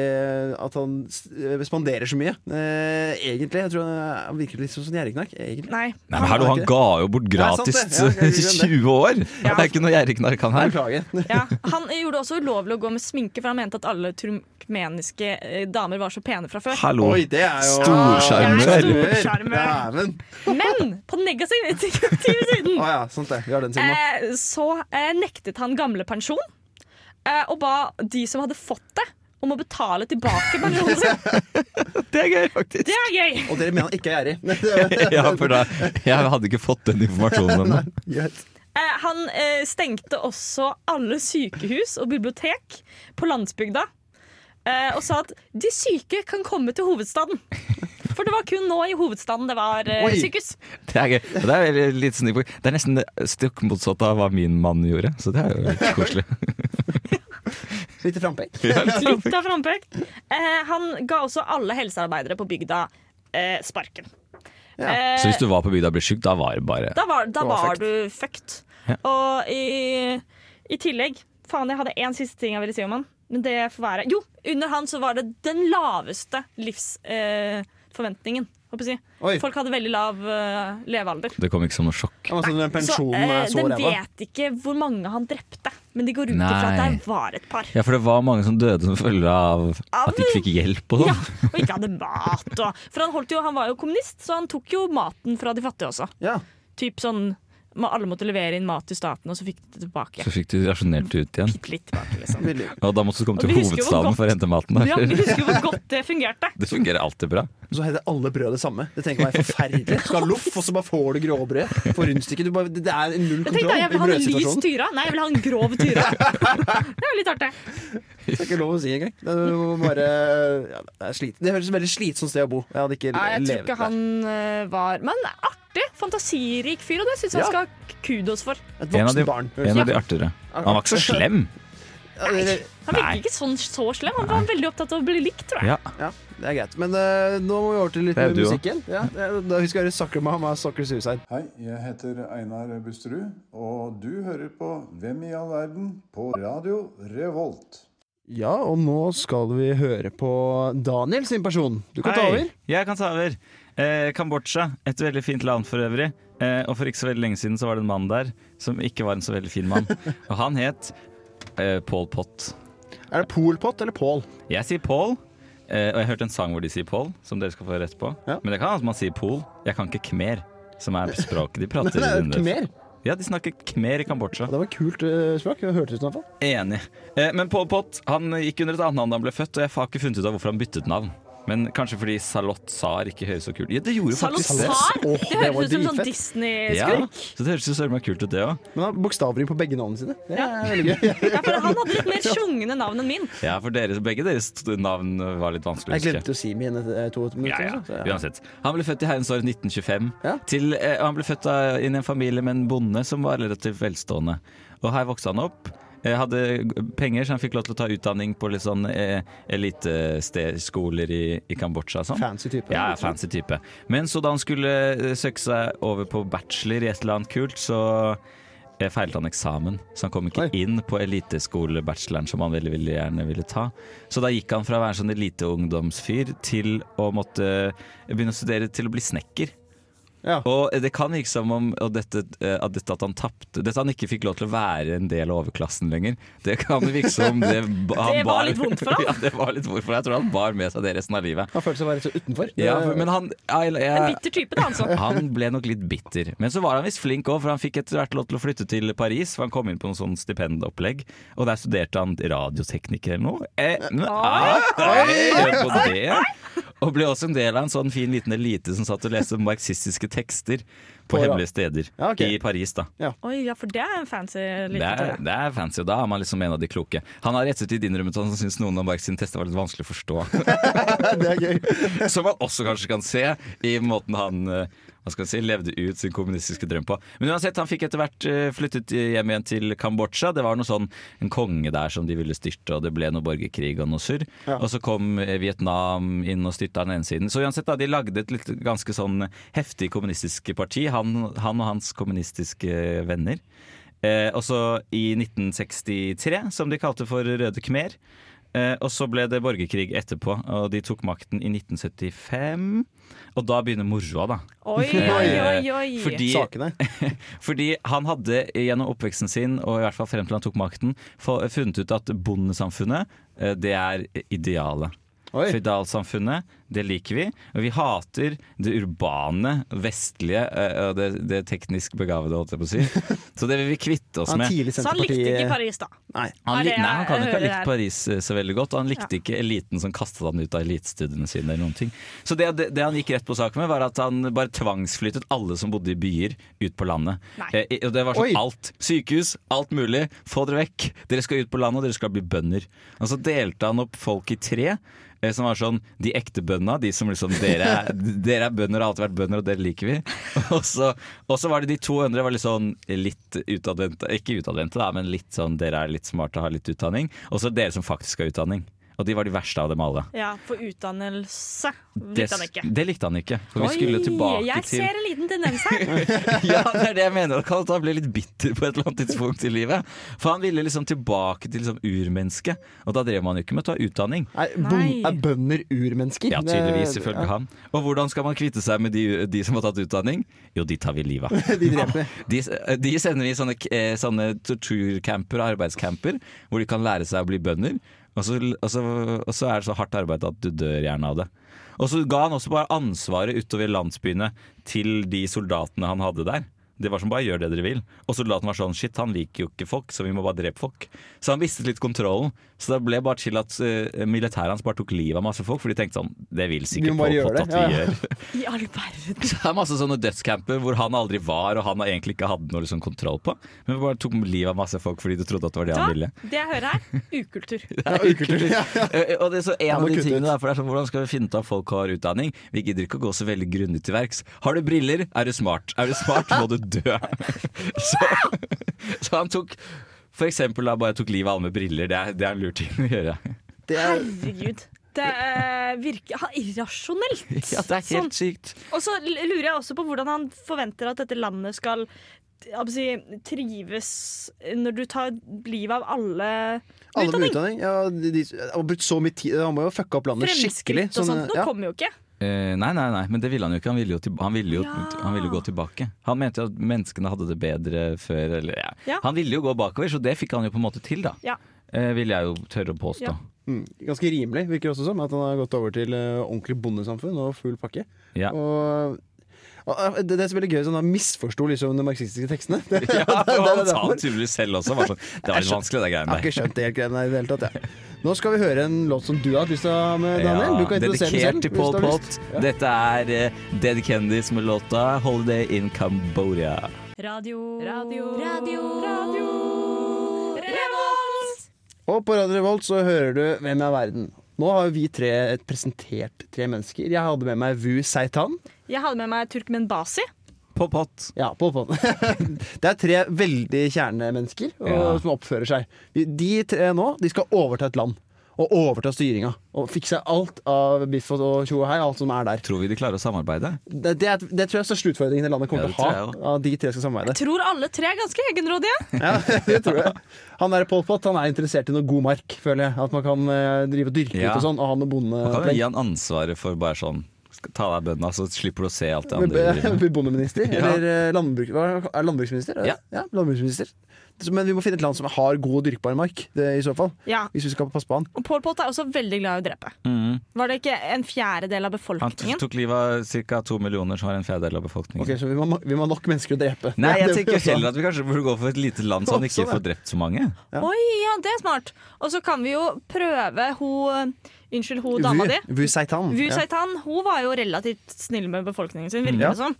S2: At han eh, spanderer så mye, eh, egentlig. Jeg tror han eh, han virker litt som en gjerrigknark, egentlig.
S3: Nei.
S5: Nei, men hallo, Han ga jo bort
S2: Nei, sant det.
S5: gratis
S2: Ja, jeg glemte det.
S5: 20 år! Det er ikke noe gjerrigknark, han her.
S2: Beklager.
S3: Ja, han gjorde det også ulovlig å gå med sminke, for han mente at alle turkmeniske eh, damer var så pene fra før.
S5: Hallo.
S2: Oi, det er jo
S5: Storsjarmør.
S3: Storsjarmør.
S2: Dæven.
S3: Men på den negative siden
S2: Å ja, sant det. Vi har den siden nå.
S3: eh, så eh, nektet han gamlepensjon eh, og ba de som hadde fått det, om å betale tilbake pensjonen sin.
S5: Det er gøy, faktisk.
S3: Det er gøy!
S2: Og dere mener han ikke er gjerrig.
S5: Ja, for da, Jeg hadde ikke fått den informasjonen ennå.
S2: Greit.
S3: Eh, han eh, stengte også alle sykehus og bibliotek på landsbygda. Eh, og sa at de syke kan komme til hovedstaden. For det var kun nå i hovedstaden det var eh,
S2: Oi.
S3: sykehus.
S5: Det er gøy. Og Det er, veldig litt snill- det er nesten det stikk motsatte av hva min mann gjorde, så det er jo litt koselig.
S3: Eh.
S2: Lite frampek.
S3: Litt av frampek. Eh, han ga også alle helsearbeidere på bygda eh, sparken.
S2: Ja.
S3: Eh,
S5: Så hvis du var på bygda og ble syk, da var det bare
S3: da var, da
S2: var
S3: var
S2: fucked.
S3: du fucked. Og i, i tillegg Faen, jeg hadde én siste ting jeg ville si om han. Men det får være Jo, under han så var det den laveste livsforventningen. Eh, forventningen, håper jeg å si.
S2: Oi.
S3: Folk hadde veldig lav eh, levealder.
S5: Det kom ikke som noe sjokk.
S2: Altså, den pensjonen
S3: eh,
S2: er så
S3: den
S2: ræva.
S3: vet ikke hvor mange han drepte, men de går ut ifra at
S5: Nei.
S3: det var et par.
S5: Ja, for det var mange som døde som følge av at de ikke fikk hjelp og
S3: Ja,
S5: sånn.
S3: og ikke hadde mat. Og, for han, holdt jo, han var jo kommunist, så han tok jo maten fra de fattige også.
S2: Ja.
S3: Typ sånn, ma- Alle måtte levere inn mat til staten, og så fikk de det tilbake.
S5: Så fikk de rasjonert det ut igjen.
S3: Bitte litt tilbake, liksom.
S2: Veldig.
S5: Og da måtte du komme
S3: Og
S5: til
S3: vi husker jo hvor
S5: hovedstaden
S3: godt-
S5: for å hente maten.
S3: Ja, vi
S5: Der.
S3: husker hvor godt det fungerte.
S5: Det fungerer alltid bra.
S2: Så heter alle brød det samme. Det tenker jeg er forferdelig. Du skal ha loff, og så bare får du gråbrød. Får rundstykke. Du bare, det er null
S3: Jeg tenkte
S2: kontroll
S3: at
S2: i
S3: jeg vil ha en lys
S2: brødsituasjonen.
S3: tyra. Nei, jeg vil ha en grov tyra. Det er jo litt artig.
S2: Det er ikke lov å si engang. Det, er jo bare, ja, det, er slit. det høres ut som et veldig slitsomt sted å bo. Jeg hadde ikke
S3: Nei, jeg tror
S2: levet
S3: ikke han eh, var Men artig, fantasirik fyr, og det syns jeg
S2: Ja.
S3: han skal ha kudos for.
S2: der. Et
S5: En av de,
S2: voksent barn. høres
S5: en
S2: det
S5: av de artigere. Han var ikke så slem.
S2: ut. Ja, det-
S3: Han
S5: Nei.
S3: virker ikke sånn, så slem. Han var veldig opptatt av å bli likt, tror jeg.
S5: Ja.
S2: Ja, det er greit. Men eh, nå må vi over til litt
S5: Det er jo du også.
S2: musikken. Ja, det- da- vi skal høre 'Sucker Mom' av Sucker Suicide.
S8: Hei, jeg heter Einar Busterud, og du hører på Hvem i all verden på Radio Revolt.
S2: Ja, og nå skal vi høre på Daniel sin person. Du kan ta
S1: Hei,
S2: over.
S1: Jeg kan ta over. Eh, Kambodsja, et veldig fint land for øvrig. Eh, og for ikke så veldig lenge siden så var det en mann der som ikke var en så veldig fin mann. Og han het eh, Pol Pot.
S2: Er det Polpott eller Pål?
S1: Jeg sier Pol, eh, og jeg hørte en sang hvor de sier Pol, som dere skal få rett på.
S2: Ja.
S1: Men det kan hende at man sier Pol. Jeg kan ikke khmer, som er språket de
S2: Nei,
S1: prater
S2: det er
S1: under.
S2: Khmer.
S1: Ja, de snakker khmer i Kambodsja.
S2: Det var kult eh, språk. Det hørtes ut som i hvert fall.
S1: Enig. Eh, Men Pol Pot han gikk under et annet navn da han ble født, og jeg har ikke funnet ut av hvorfor han byttet navn. Men kanskje fordi Salot Sar ikke høres så kult Ja, det gjorde faktisk det.
S3: Salazar?
S2: Åh,
S3: Det
S2: det var
S3: høres ut som sånn
S2: dritfett.
S1: Ja,
S3: Disney-skurk.
S1: så det høres jo søren meg kult ut, det òg.
S2: Men han har bokstavrim på begge navnene sine. Det er veldig gøy.
S3: Ja, for han hadde litt mer sjungende navn enn min.
S1: Ja, for dere, begge deres t- navn var litt vanskelig å
S2: Jeg
S1: huske.
S2: glemte å si mine eh, to
S1: Ja,
S2: minutter.
S1: ja,
S2: så- så, ja.
S1: uansett. Han ble født i herrens år 1925.
S2: Ja.
S1: Til, eh, han ble født av, inn i en familie med en bonde som var relativt velstående. Og her vokste han opp. eh, Hadde g- penger, så han fikk lov til å ta utdanning på litt sånn eh, eliteskoler i, i Kambodsja og sånn.
S2: Fancy type.
S1: Ja, fancy type. Men så da han skulle eh, søke seg over på bachelor i et eller annet kult, så eh, feilet han eksamen. Så han kom ikke
S2: Oi.
S1: inn på eliteskolebacheloren som han veldig, veldig gjerne ville ta. Så da gikk han fra å være en sånn eliteungdomsfyr til å måtte eh, begynne å studere til å bli snekker.
S2: Ja.
S1: Og eh, det kan virke som om og dette, eh, at, dette at han tapte Dette han ikke fikk lov til å være en del av overklassen lenger. Det kan virke som om det, ba- han
S3: Det var litt vondt for han.
S1: Ja, det var litt vondt for han. Jeg tror han bar med seg det resten av livet.
S2: Han følte seg bare så utenfor.
S1: Ja,
S2: Det-
S1: men han jeg,
S3: En
S1: jeg,
S3: bitter type, da, altså.
S1: Eh, Han ble nok litt bitter. Men så var han visst flink òg, for han fikk etter hvert lov til å flytte til Paris. For han kom inn på noe sånn stipendopplegg, og der studerte han radiotekniker eller noe. Eh, men, ah, hei, hør på det. Og ble også en del av en sånn fin liten elite som satt og leste marxistiske tekster på
S2: Å, ja.
S1: hemmelige steder
S2: Ja, ok.
S1: i Paris. da
S3: Oi, ja, for det er en fancy
S1: det
S3: liten
S1: er, det er fancy, og da er man liksom en av de kloke. Han har rett og slett innrømmet at han syns noen av Marx sine tester var litt vanskelig å forstå.
S2: Det er gøy.
S1: Som man også kanskje kan se i måten han eh, hva skal jeg si, levde ut sin kommunistiske drøm på. Men uansett, han fikk etter hvert eh, flyttet hjem igjen til Kambodsja. Det var noe sånn en konge der som de ville styrte, og det ble noe borgerkrig og noe surr.
S2: Ja.
S1: Og så kom eh, Vietnam inn og styrta den ene siden. Så uansett, da, de lagde et litt, ganske sånn heftig kommunistisk parti, han, han og hans kommunistiske venner. Eh, og så i 1963, som de kalte for Røde Khmer. Eh, og så ble det borgerkrig etterpå, og de tok makten i 1975. Og da begynner moroa, da.
S3: Oi, oi, oi, oi.
S1: Eh, Fordi,
S2: Sakene.
S1: fordi han hadde gjennom oppveksten sin, og i hvert fall frem til han tok makten, få- funnet ut at bondesamfunnet, eh, det er idealet.
S2: Oi.
S1: Føydalsamfunnet, det liker vi. Og vi hater det urbane, vestlige eh, og det, det teknisk begavede, holdt jeg på å si. Så det vil vi kvitte oss
S2: Han
S1: med.
S2: tidlig
S3: Så han likte ikke
S2: Senterpartiet
S3: Paris, da.
S2: Nei.
S1: Han,
S3: Er
S1: lik-
S3: det-
S1: nei, han kan jo ikke ha
S3: hører
S1: likt
S3: her.
S1: Paris eh, så veldig godt. Og han likte ikke eliten som kastet han ut av elitestudiene sine. eller noen ting. Så det, det, det han gikk rett på sak med, var at han bare tvangsflyttet alle som bodde i byer, ut på landet.
S3: Nei.
S1: Eh, i- og det var sånn
S2: Oi.
S1: alt. Sykehus, alt mulig. Få dere vekk. Dere skal ut på landet, og dere skal bli bønder. Og så delte han opp folk i tre. eh, Som var sånn, De ekte bøndene, de som liksom Dere er, dere er bønder, har alltid vært bønder, og dere liker vi. Og så, og så var det de to andre var litt sånn litt utadvendte, ikke utadvendte, da, men litt sånn dere er litt smarte og har litt utdanning. Og så dere som faktisk har utdanning. Og de var de verste av dem alle.
S3: Ja, for utdannelse
S1: Det,
S3: likte han ikke.
S1: det likte han ikke. For vi skulle tilbake
S3: jeg
S1: til
S3: ser en liten tendens her.
S1: Ja, det er det jeg mener. At Carl Tamm ble litt bitter på et eller annet tidspunkt i livet. For han ville liksom tilbake til liksom urmennesket, og da drev man jo ikke med å ta utdanning.
S2: Er, bon,
S3: Nei.
S2: er bønder urmennesker?
S1: Ja, tydeligvis, ifølge han. Og hvordan skal man kvitte seg med de, de som har tatt utdanning? Jo, de tar vi livet av.
S2: De dreper.
S1: De, de sender vi i sånne, eh, sånne torturcamper og arbeidscamper, hvor de kan lære seg å bli bønder. Og så, og, så, og så er det så hardt arbeid at du dør gjerne av det. Og så ga han også bare ansvaret utover landsbyene til de soldatene han hadde der. Det var som bare gjør det dere vil. Og soldaten var sånn shit, han liker jo ikke folk, så vi må bare drepe folk. Så han mistet litt kontrollen. Så det ble bare til at eh, militæret hans bare tok livet av masse folk, for de tenkte sånn det vil
S2: Vi
S1: sikkert
S2: må bare gjøre
S1: Pol Pot at
S2: det,
S1: vi
S2: ja.
S1: gjør.
S3: I all verden.
S1: Det er masse sånne dødscamper hvor han aldri var, og han egentlig ikke hadde noe liksom kontroll på. Men bare tok livet av masse folk fordi du trodde at det var det han ville.
S3: Da, det jeg hører her, ukultur.
S2: Ja, ukultur. Ja, ja.
S1: Eh, Og det er så en
S2: må
S1: av de
S2: kutte
S1: tingene
S2: ut.
S1: der, for det er sånn, Hvordan skal vi finne ut av folk har utdanning? Vi gidder ikke å gå så veldig grundig til verks. Har du briller, er du smart. Er du smart, må du dø. Så, så han tok for eksempel da bare tok livet av alle med briller. Det er, det er en lur ting å gjøre.
S2: Det er,
S3: Herregud. Det eh, virker ha, irrasjonelt. Sånn.
S1: Ja, det er
S2: Sånn.
S1: helt sykt.
S3: Og så l- lurer jeg også på hvordan han forventer at dette landet skal jeg vil si, trives når du tar livet av alle
S2: alle med
S3: Utdanning.
S2: utdanning. Ja, de, de, han har brukt så mye tid Han må jo ha fucka opp landet skikkelig. Sånn,
S3: fremskritt og sånt. Nå
S2: ja.
S3: kommer jo ikke.
S1: Eh, nei, nei, nei, men det ville han jo ikke. Han ville jo, til, han ville jo,
S3: Ja.
S1: han ville jo gå tilbake. Han mente jo at menneskene hadde det bedre før. Eller, ja.
S3: Ja.
S1: Han ville jo gå bakover, så det fikk han jo på en måte til, da.
S3: Ja.
S1: Eh, vil jeg jo tørre å påstå.
S3: Ja.
S2: Mm, ganske rimelig, virker det også som. At han har gått over til eh, ordentlig bondesamfunn og full pakke.
S1: Ja.
S2: Og, og eh, det, det er så veldig gøy at han har misforsto liksom, de marxistiske tekstene. Det,
S1: Ja,
S2: det
S1: for
S2: er
S1: han sa
S2: derfor.
S1: det tydeligvis selv også. Var sånn, det var litt vanskelig, det
S2: Jeg har
S1: greiene
S2: ikke
S1: der.
S2: skjønt det helt greiene der i det hele tatt. Ja. Nå skal vi høre en låt som du har hatt lyst til å ha med, Daniel. du kan introdusere den selv.
S1: dedikert til
S2: hvis
S1: Pol
S2: du har lyst.
S1: Pot. Dette er eh, Dead Kennedys med låta 'Holiday in Cambodia'.
S3: Radio Radio Radio Radio Revolt!
S2: Og på Radio Revolt så hører du Hvem er verden? Nå har jo vi tre presentert tre mennesker. Jeg hadde med meg Vu Seitan.
S3: Jeg hadde med meg Turkmen Basi.
S1: Pol Pot.
S2: Ja, Pol Pot. Det er tre veldig kjernemennesker og,
S1: Ja.
S2: som oppfører seg. De tre nå de skal overta et land. Og overta styringa. Og fikse alt av biff og tjo og hei, alt som er der.
S1: Tror vi de klarer å samarbeide?
S2: Det, det, er, det tror jeg er største utfordringen det landet
S1: Ja,
S2: kommer
S1: det
S2: til å
S1: tror jeg
S2: ha. Av de tre skal samarbeide.
S3: Tror alle tre er ganske egenrådige.
S2: Ja, det tror jeg. Han der Pol Pot han er interessert i noe god mark, føler jeg. At man kan eh, drive og dyrke
S1: Ja.
S2: ut og sånn, og ha noe
S1: Kan jo gi
S2: bondeopplegg.
S1: han ansvaret for bare sånn skal Ta deg av bøndene, så slipper du å se alt det andre. du driver med.
S2: Blir bondeminister?
S1: Ja.
S2: Eller eh, landbruk, hva- er landbruksminister? Er det?
S1: Ja.
S2: ja, landbruksminister. Så- Men vi må finne et land som har god og dyrkbar mark, det, i så fall.
S3: Ja.
S2: Hvis vi skal passe på han.
S3: Og Pol Pot er også veldig glad i å drepe.
S1: Mm.
S3: Var det ikke en fjerdedel av
S1: Han t-
S3: befolkningen?
S1: tok livet av ca. to millioner, som har en fjerdedel av befolkningen.
S2: Ok, Så vi må, ha- vi må ha nok mennesker å drepe.
S1: Nei, jeg
S2: Det- det-
S1: tenker heller at vi kanskje burde gå for et lite land, så han ikke får drept så mange.
S3: Oi, ja, det er smart. Og så kan vi jo prøve hun Unnskyld, hun dama di.
S2: Vu, Vu Seitan.
S3: Wu
S2: ja.
S3: Saitan hun var jo relativt snill med befolkningen sin, virker
S2: Ja.
S3: det som.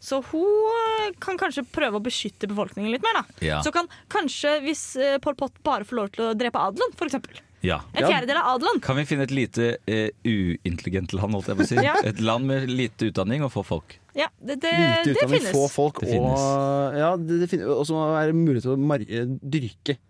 S3: Så hun kan kanskje prøve å beskytte befolkningen litt mer. da.
S1: Ja.
S3: Så kan kanskje, hvis eh, Pol Pot bare får lov til å drepe adelen, f.eks.
S1: Ja.
S3: En fjerdedel av adelen.
S1: Kan vi finne et lite eh, uintelligent land, holdt jeg på å si?
S3: Ja.
S1: Et land med lite utdanning og få folk.
S3: Ja, det, det,
S2: Lite
S3: det
S2: utdanning,
S3: finnes.
S2: få folk,
S1: Det
S2: og ja, det, det finnes, også må det være mulighet til å mar eh, dyrke.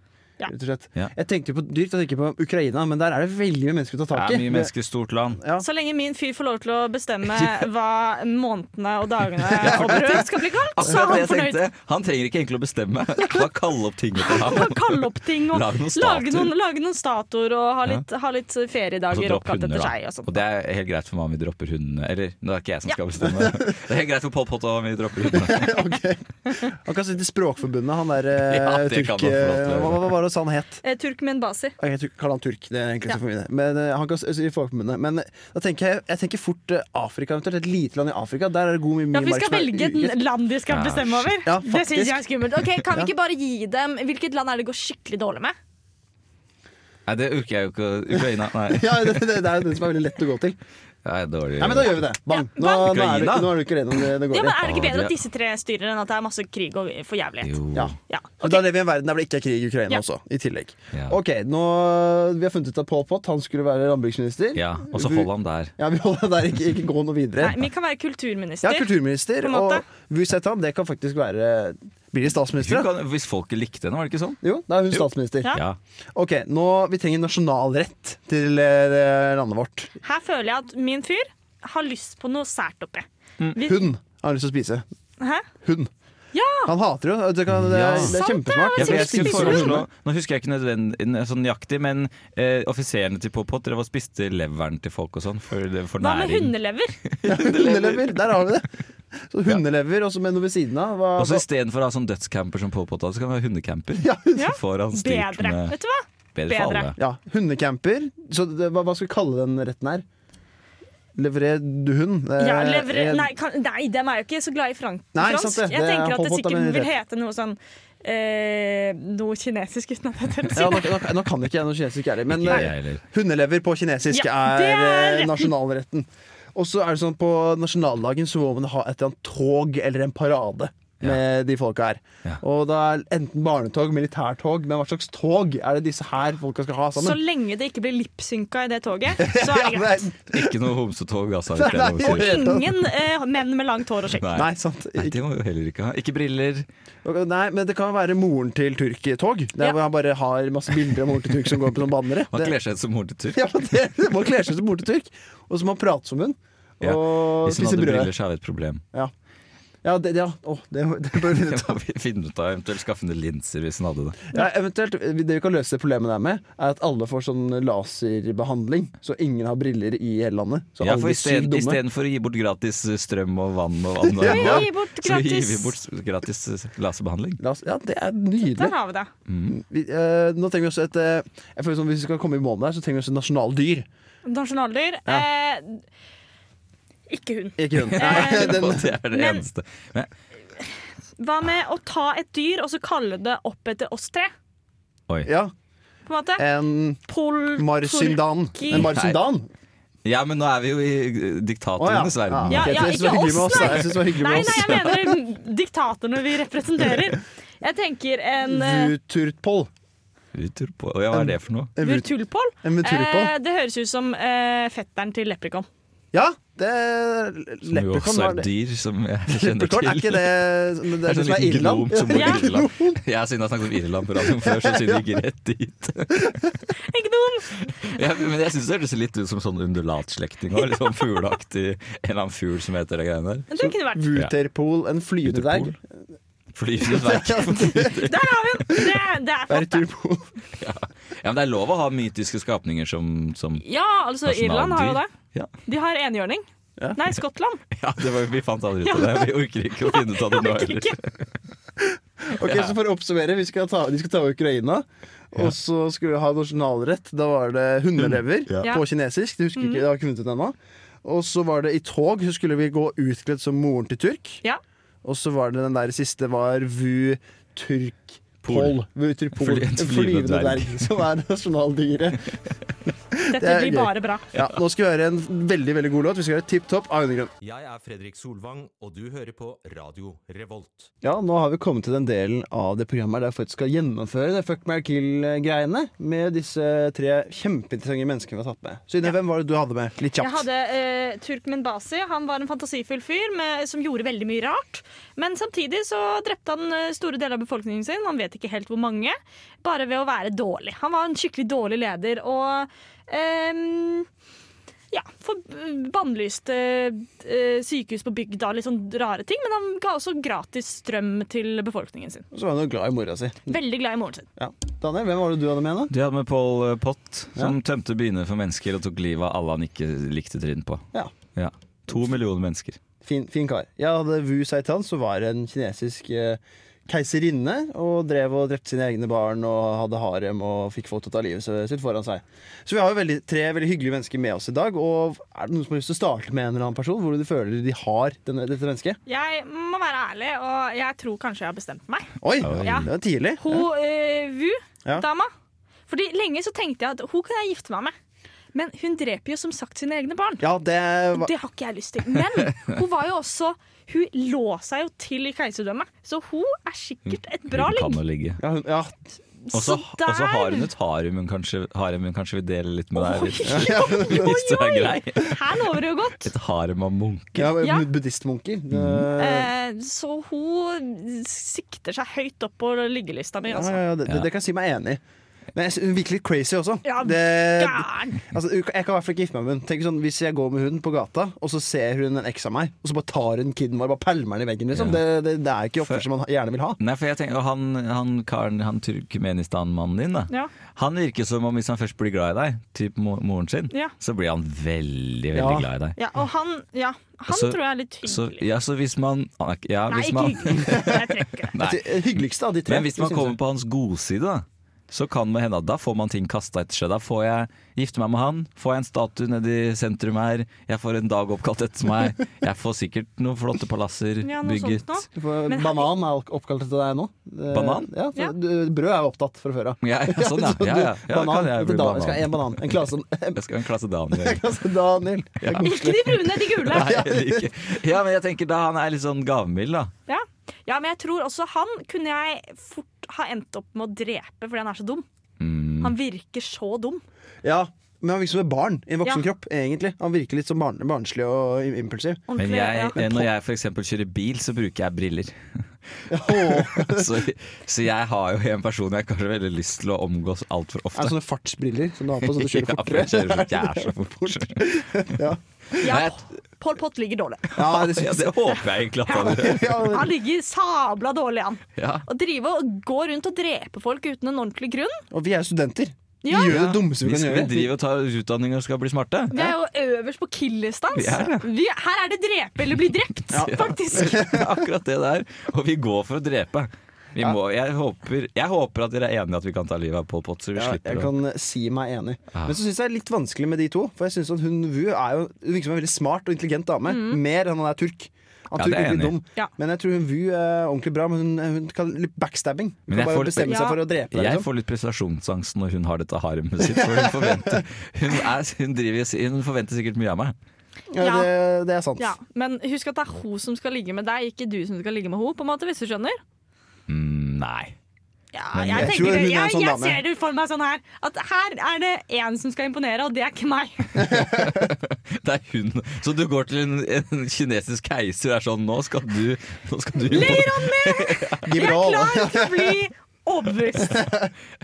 S3: Ja.
S2: Rett og slett.
S1: Ja.
S2: Jeg tenkte jo på dyrt, jeg tenker på Ukraina, men der er det veldig mye mennesker å ta
S1: Det
S2: tak
S1: er
S2: i.
S1: mye mennesker, stort land.
S2: Ja.
S3: Så lenge min fyr får lov til å bestemme hva månedene og dagene og brød skal bli kalt, så er han fornøyd.
S1: Han trenger ikke egentlig å bestemme. Bare kalle opp ting etter ham.
S3: Bare kalle opp ting og
S1: Lage noen
S3: lage
S1: statuer.
S3: noen, lage noen statuer og ha litt, ha litt
S1: Og så
S3: feriedager
S1: dropp
S3: oppkalt
S1: hunder,
S3: etter
S1: da.
S3: seg. Og
S1: Og
S3: sånt.
S1: det er helt greit for meg om vi dropper hundene. Eller, det er ikke jeg som skal bestemme. Det er helt greit for Pol Pot om vi dropper hundene.
S2: Han kan sitte i Språkforbundet, han der
S1: Ja,
S2: eh,
S1: det kan
S2: turk...
S1: han få lov til å
S2: eh,
S1: gjøre.
S2: Hva, hva var det han het?
S3: Eh, Turkmen Basi.
S2: Ok, Jeg kaller han turk, det er enklest for min del. Men eh, han kan sitte i Folkeforbundet. Men eh, da tenker jeg, jeg tenker fort eh, Afrika, eventuelt. Et lite land i Afrika. Der er det god mye
S3: Ja, for vi
S2: mark
S3: skal
S2: som er
S3: velge
S2: ugress.
S3: et land de skal
S1: Ja,
S3: bestemme
S1: shit.
S3: over.
S2: Ja,
S3: det syns jeg
S2: faktisk.
S3: er skummelt. Ok, Kan vi
S2: Ja.
S3: ikke bare gi dem Hvilket land er det går skikkelig dårlig med?
S1: Nei, det orker jeg jo ikke. å- Ukraina, nei.
S2: Ja, det, det, det er den som er veldig lett å gå til.
S1: Det er dårlig.
S2: Nei, men da gjør vi det. Bang.
S3: Ja,
S2: Nå,
S3: bang.
S2: nå
S1: Ukraina.
S2: er det ikke nå er det ikke Ukraina det, det
S3: Ja,
S2: går
S3: men
S2: i.
S3: Er det ikke
S1: Ja,
S3: bedre
S1: det-
S3: at disse tre styrer enn at det er masse krig og forjævlighet?
S1: Jo.
S2: Ja.
S3: Ja.
S2: Men Da lever vi i en verden der det ikke er krig i Ukraina
S3: Ja.
S2: også, i tillegg.
S1: Ja.
S2: Ok, nå, Vi har funnet ut at Pol Pot han skulle være landbruksminister.
S1: ja. Og så
S2: Vu-
S1: Holland der.
S2: Ja, vi holder det der, ikke, ikke gå noe videre.
S3: Nei, vi kan være
S2: ja,
S3: kulturminister.
S2: kulturminister.
S3: På en
S2: Og
S3: måte.
S2: Vu Setan, det kan faktisk være Blir det
S1: Hun
S2: statsminister? da?
S1: kan, hvis folket likte henne, var det ikke sånn?
S2: Jo, da er hun
S1: Jo.
S2: statsminister.
S3: Ja.
S1: Ja.
S2: Ok, nå, Vi trenger nasjonalrett til eh, landet vårt.
S3: Her føler jeg at min fyr har lyst på noe sært oppi.
S1: Mm.
S3: Vi-
S2: Hund har han lyst til å spise.
S3: Hæ?
S2: Hund.
S3: Ja!
S2: Han hater jo det, kan, det,
S1: Ja.
S2: er, det er
S3: Sant, det er
S2: kjempesmart.
S1: Ja, for jeg
S3: Sikkert
S1: skulle
S3: spiser hun.
S1: foreslå, nå husker jeg ikke nødvendig, sånn nøyaktig, men eh, offiserene til Pol Pot drev og spiste leveren til folk og sånn for, for
S3: Hva med
S1: næring.
S3: hundelever?
S2: Hundelever. Der har vi det. Så Hundelever og så med noe ved siden av. Hva,
S1: Og så Istedenfor å ha sånn dødscamper som Pol Pot hadde, så kan vi ha hundecamper.
S2: Ja,
S3: Ja.
S1: Så får han styrt
S3: Bedre.
S1: med
S3: Vet du hva?
S1: Bedre for
S3: Bedre.
S1: alle.
S2: Ja, hundecamper. Så det, hva, hva skal vi kalle den retten her? Leveré du hund? Eh,
S3: Ja, levre,
S2: eh,
S3: nei, kan, nei, dem er jo ikke så glad i frank,
S2: Nei,
S3: fransk.
S2: sant det.
S3: Jeg
S2: Det er
S3: tenker at det
S2: Pol Pot er
S3: sikkert
S2: min
S3: vil
S2: rett.
S3: hete noe sånn eh, Noe kinesisk uten at jeg tør å si
S2: Ja, nå,
S3: det.
S2: nå, nå kan ikke jeg noe kinesisk heller, men
S1: Ikke
S2: eh,
S1: jeg heller.
S2: hundelever på kinesisk
S3: Ja,
S2: er,
S3: det er
S2: eh,
S3: retten.
S2: nasjonalretten. Og så er det sånn på nasjonaldagen så må man ha et eller annet tog eller en parade med de folka her.
S1: Ja.
S2: Og da er enten barnetog, militærtog, men hva slags tog er det disse her folka skal ha
S3: Så
S2: sammen?
S3: lenge det ikke blir lipsynka i det toget, så er det
S2: Ja,
S3: greit.
S2: det er-
S1: Ikke noe homsetog, altså.
S2: Nei,
S1: hvis det er lov å
S2: nei.
S1: si.
S3: Ingen eh, menn med langt hår og skjegg.
S1: Nei.
S2: Nei, sant.
S1: Nei, det må vi jo heller ikke ha. Ikke briller.
S2: Ok, Nei, men det kan være moren til Turk-tog. Der
S3: Ja.
S2: hvor han bare har masse bilder av moren til Turk som går på noen bannere.
S1: Man
S2: Det-
S1: kler seg ut som mor til turk.
S2: Ja, men det, det må kle seg som moren til Turk. Og så må han prate som hun. Og
S1: Ja, Hvis hun
S2: spise
S1: hadde
S2: brød.
S1: briller, så har vi et problem.
S2: Ja, det, ja. Åh, det, det bør vi
S1: Det
S2: finne ut
S1: må
S2: av.
S1: vi finne ut av, eventuelt skaffe henne linser hvis hun hadde det.
S2: Ja, eventuelt, det vi kan løse det problemet der med, er at alle får sånn laserbehandling. Så ingen har briller i hele landet. Så
S1: Ja,
S2: alle
S1: for
S2: blir sykt dumme.
S1: Istedenfor å gi bort gratis eh, strøm og vann og vann og
S2: Ja.
S1: vann,
S3: Gi bort
S1: så gir vi
S3: gratis.
S1: bort gratis eh, laserbehandling.
S2: La oss- Ja, det er nydelig.
S3: Der har vi det.
S2: Vi, eh, nå trenger vi også et eh, jeg føler sånn, Hvis vi skal komme i mål med det, så trenger vi også nasjonaldyr.
S3: Nasjonaldyr. Eh, ikke hund.
S2: Ikke hund.
S3: Eh,
S2: Den-
S1: Og det er det
S3: Men-
S1: eneste. Men,
S3: Hva med å ta et dyr og så kalle det opp etter oss tre?
S1: oi.
S2: Ja,
S3: På en måte.
S2: en
S3: Pol...
S2: marsindan.
S3: Turki.
S2: En marsindan?
S1: Ja, men nå er vi jo i eh, diktatorenes verden.
S3: Ja,
S2: ok,
S3: ja,
S2: jeg synes det var
S3: ikke
S2: hyggelig med
S3: oss,
S2: oss, da.
S3: nei.
S2: Jeg synes det var hyggelig
S3: Nei,
S2: med
S3: nei,
S2: oss.
S3: jeg mener diktatorene vi representerer. Jeg tenker en eh,
S2: Vuturtpol.
S1: Utur på. Ja, hva er det for noe?
S2: En vut-
S3: Vurtulpol.
S2: en Vuturtpol.
S3: Eh, det høres ut som eh, fetteren til Leprikon.
S2: Ja, det
S1: Som jo
S2: Leprechaun
S1: også
S2: var
S1: er
S2: det.
S1: dyr, som jeg kjenner
S2: Leprechaun, er ikke
S1: til. sånn
S2: det det, er det som er
S1: liten
S2: Irland?
S1: gnom som bor i
S3: Ja.
S1: Irland. Jeg siden jeg har snakket om Irland på radioen før, så siden jeg gikk rett dit.
S3: En gnom!
S1: Ja, men jeg syns det høres litt ut som sånn undulatslekting òg. Litt sånn fugleaktig. En eller annen fugl som heter det greiene der.
S3: Det kunne vært.
S2: Vuterpol, en flyvende dverg.
S1: Uterpol. Flyvende dverg.
S3: Der har vi den! Det, det er flott, det.
S2: Verturpol.
S1: Ja, men det er lov å ha mytiske skapninger som, som
S3: Ja, altså
S1: Nasjonaldyr.
S3: Irland har jo det.
S1: Ja.
S3: De har enhjørning. Nei, Skottland.
S1: Ja, det var, vi fant aldri ut av det. Vi orker ikke å finne ut av det nå
S3: Orker
S1: heller.
S3: ikke.
S2: Ok, så For å oppsummere, vi skal ta, de skal ta Ukraina. Og så skulle vi ha nasjonalrett. Da var det hundelever
S3: Ja.
S2: på kinesisk. Det husker jeg ikke, det har jeg ikke funnet ut ennå. Og så var det i tog, så skulle vi gå utkledd som moren til Turk.
S3: Ja.
S2: Og så var det den der siste var Vu Turk Pol. Vu Turpol.
S1: Fly- et
S2: En
S1: flyvende
S2: flyvende
S1: dverg.
S2: dverg, som er nasjonaldyret.
S3: Dette
S2: er
S3: blir
S2: gøy.
S3: bare bra.
S2: Ja, nå skal vi høre en veldig veldig god låt. Vi skal høre Tipp Topp av Undergrunn.
S7: Jeg er Fredrik Solvang, og du hører på Radio Revolt.
S2: Ja, nå har vi kommet til den delen av det programmet der jeg faktisk skal gjennomføre det fuck, marry, kill-greiene med disse tre kjempeinteressante menneskene vi har tatt med. Så Ine, hvem var det du hadde med? Litt
S3: Jeg
S2: kjapt.
S3: hadde eh, Turkmen Basi. Han var en fantasifull fyr med, som gjorde veldig mye rart. Men samtidig så drepte han eh, store deler av befolkningen sin, han vet ikke helt hvor mange, bare ved å være dårlig. Han var en skikkelig dårlig leder og ehm, ja, for bannlyste eh, sykehus på bygda, litt sånn rare ting. Men han ga også gratis strøm til befolkningen sin.
S2: Og så var hun jo glad i mora si.
S3: Veldig glad i moren sin.
S2: Ja. Daniel, hvem var det du hadde med? da?
S1: De hadde med Paul eh, Pott, som tømte byene for mennesker og tok livet av alle han ikke likte trinn på.
S2: Ja.
S1: To millioner mennesker.
S2: Fin, fin kar. Jeg hadde Wu Saitan, som var en kinesisk eh, keiserinne. Og drev og drepte sine egne barn og hadde harem og fikk folk til å ta livet sitt foran seg. Så vi har jo veldig, tre veldig hyggelige mennesker med oss i dag. Og er det noen som har lyst til å starte med en eller annen person? Hvor de føler de har denne, dette mennesket?
S3: Jeg må være ærlig, og jeg tror kanskje jeg har bestemt meg.
S2: Oi,
S3: Ja.
S2: det var tidlig.
S3: Hun eh, Vu,
S2: Ja.
S3: dama. Fordi lenge så tenkte jeg at hun kan jeg gifte meg med. Men hun dreper jo som sagt sine egne barn.
S2: Ja, det
S3: Og
S2: var
S3: Det har ikke jeg lyst til. Men hun var jo også Hun lå seg jo til i keiserdømmet, så hun er sikkert et bra
S1: Hun kan
S3: ligg.
S1: jo ligge.
S2: ja, hun, ja.
S1: Og så og så har hun et harem hun kanskje, harem hun kanskje vil dele litt med deg. Hvis, hvis du er grei.
S3: Her lover det jo godt.
S1: Et harem av munker.
S2: ja,
S3: Ja.
S2: Buddhistmunker. Eh,
S3: Eh, så hun sikter seg høyt opp på liggelista mi,
S2: Ja,
S3: altså.
S2: ja, ja, det, det kan jeg si meg enig i. Men jeg sy- hun virker litt crazy også.
S3: Ja,
S2: det,
S3: Gæren!
S2: altså, jeg kan i hvert fall ikke gifte meg med hun. Tenk sånn, Hvis jeg går med hun på gata, og så ser hun en eks av meg, og så bare tar hun kiden vår bare pælmer den i veggen, liksom. Det, det, det er ikke oppførsel man gjerne vil ha.
S1: Nei, for jeg tenker, og han, han karen, han Turkmenistan-mannen din, da.
S3: Ja.
S1: Han virker som om hvis han først blir glad i deg, typ mo- moren sin,
S3: Ja.
S1: så blir han veldig, veldig
S2: Ja.
S1: glad i deg.
S3: Ja, og han, ja, han
S1: Så-
S3: tror jeg er litt
S1: Så,
S3: hyggelig.
S1: ja, så hvis man ah, ja,
S3: Nei,
S1: hvis
S3: ikke
S1: man,
S3: hyggelig. Jeg trekker det.
S1: Nei.
S2: Altså, det hyggeligste av de tre.
S1: Men hvis man
S2: synes
S1: kommer
S2: jeg.
S1: på hans godside, da, så kan det hende at da får man ting kasta etter seg. Da får jeg gifte meg med han, får jeg en statue nede i sentrum her, jeg får en dag oppkalt etter meg, jeg får sikkert noen flotte palasser
S3: Ja, noe sånt
S1: bygget.
S3: nå.
S2: Du får-
S3: Men-
S2: Banan er opp- oppkalt etter deg nå. Det-
S1: Banan?
S2: Ja, for,
S3: Ja.
S2: du- Brød er jo opptatt fra før av.
S1: Ja, ja, sånn ja.
S2: Så
S1: Ja,
S2: du-
S1: ja. ja kan
S2: banan,
S1: jeg
S2: etter
S1: bli
S2: da- skal jeg ha en
S1: banan.
S2: banan. En sånn- klasse, en
S1: Jeg skal ha en klasse Daniel.
S2: klasse Altså, Daniel. Det er koselig.
S3: Ikke de brune, de gule.
S1: Nei, eller ikke. Ja, men jeg tenker da han er litt sånn gavmild, da.
S3: Ja. ja, men jeg tror også han kunne jeg fort ha endt opp med å drepe fordi han er så dum.
S1: Mm.
S3: Han virker så dum.
S2: Ja, men han virker som et barn i en voksen
S3: Ja.
S2: kropp, egentlig. Han virker litt sånn barn, barnslig og im- impulsiv.
S1: Men
S3: Ordentlig,
S1: jeg, eh,
S3: ja.
S1: når jeg f.eks. kjører bil, så bruker jeg briller. så, så jeg har jo en person jeg kanskje har veldig lyst til å omgås altfor
S2: Er det
S1: ofte.
S2: sånne fartsbriller som du har på så du kjører
S1: Ja, for jeg
S2: fortere?
S1: kjører så jævla fort.
S3: ja, Pål Pott ligger dårlig.
S2: Ja, det
S1: Ja,
S2: synes
S1: det håper jeg egentlig at han gjør.
S2: jeg. Ja,
S3: Han ligger sabla dårlig an.
S1: Ja.
S3: Å drive og gå rundt og drepe folk uten en ordentlig grunn.
S2: og vi er jo studenter. Vi
S3: Ja.
S2: gjør det dummeste vi
S1: Vi,
S2: kan
S1: skal, vi
S2: gjøre.
S1: driver og tar utdanning og skal bli smarte.
S3: Vi er jo øverst på killerstans.
S1: Vi er det.
S3: Vi- Her er det drepe eller bli drept, faktisk.
S1: Det er Akkurat det der. Og vi går for å drepe. Vi må, jeg, håper, jeg håper at dere er enige at vi kan ta livet av Pol Pot, så vi
S2: Ja, jeg
S1: slipper å
S2: kan si meg enig. Men så syns jeg det er litt vanskelig med de to. For jeg synes at hun Wu er jo hun virker som en veldig smart og intelligent dame. Mer enn han er turk. Han
S1: Ja, det
S2: turk
S1: er jeg
S2: er litt
S1: enig i.
S2: dum.
S3: Mm. Ja.
S2: Men jeg tror hun Wu er ordentlig bra. Men hun, hun kan litt backstabbing.
S1: Men
S2: Hun
S1: jeg
S2: kan
S1: får
S2: bare
S1: litt-
S2: bestemme
S3: Ja.
S2: seg for å drepe.
S1: Jeg
S2: Liksom.
S1: får litt prestasjonsangst når hun har dette haremet sitt. For hun, forventer, hun, er, hun, driver, hun forventer sikkert mye av meg.
S2: Ja,
S3: Ja.
S2: det, det er sant.
S3: Ja, Men husk at det er hun som skal ligge med deg, ikke du som skal ligge med henne, på en måte, hvis du skjønner.
S1: Mm, Nei.
S3: Ja,
S1: Men
S3: jeg,
S2: jeg
S3: tenker
S2: tror
S3: det.
S2: hun er en
S3: jeg,
S2: sånn
S3: jeg
S2: dame.
S3: ser det for meg sånn her. At her er det én som skal imponere, og det er ikke meg.
S1: Det er hun. Så du går til en, en kinesisk keiser og er sånn Nå skal du, nå skal du
S2: Gi
S3: Jeg
S2: bra,
S3: er
S2: alle.
S3: klar til å bli overbevist.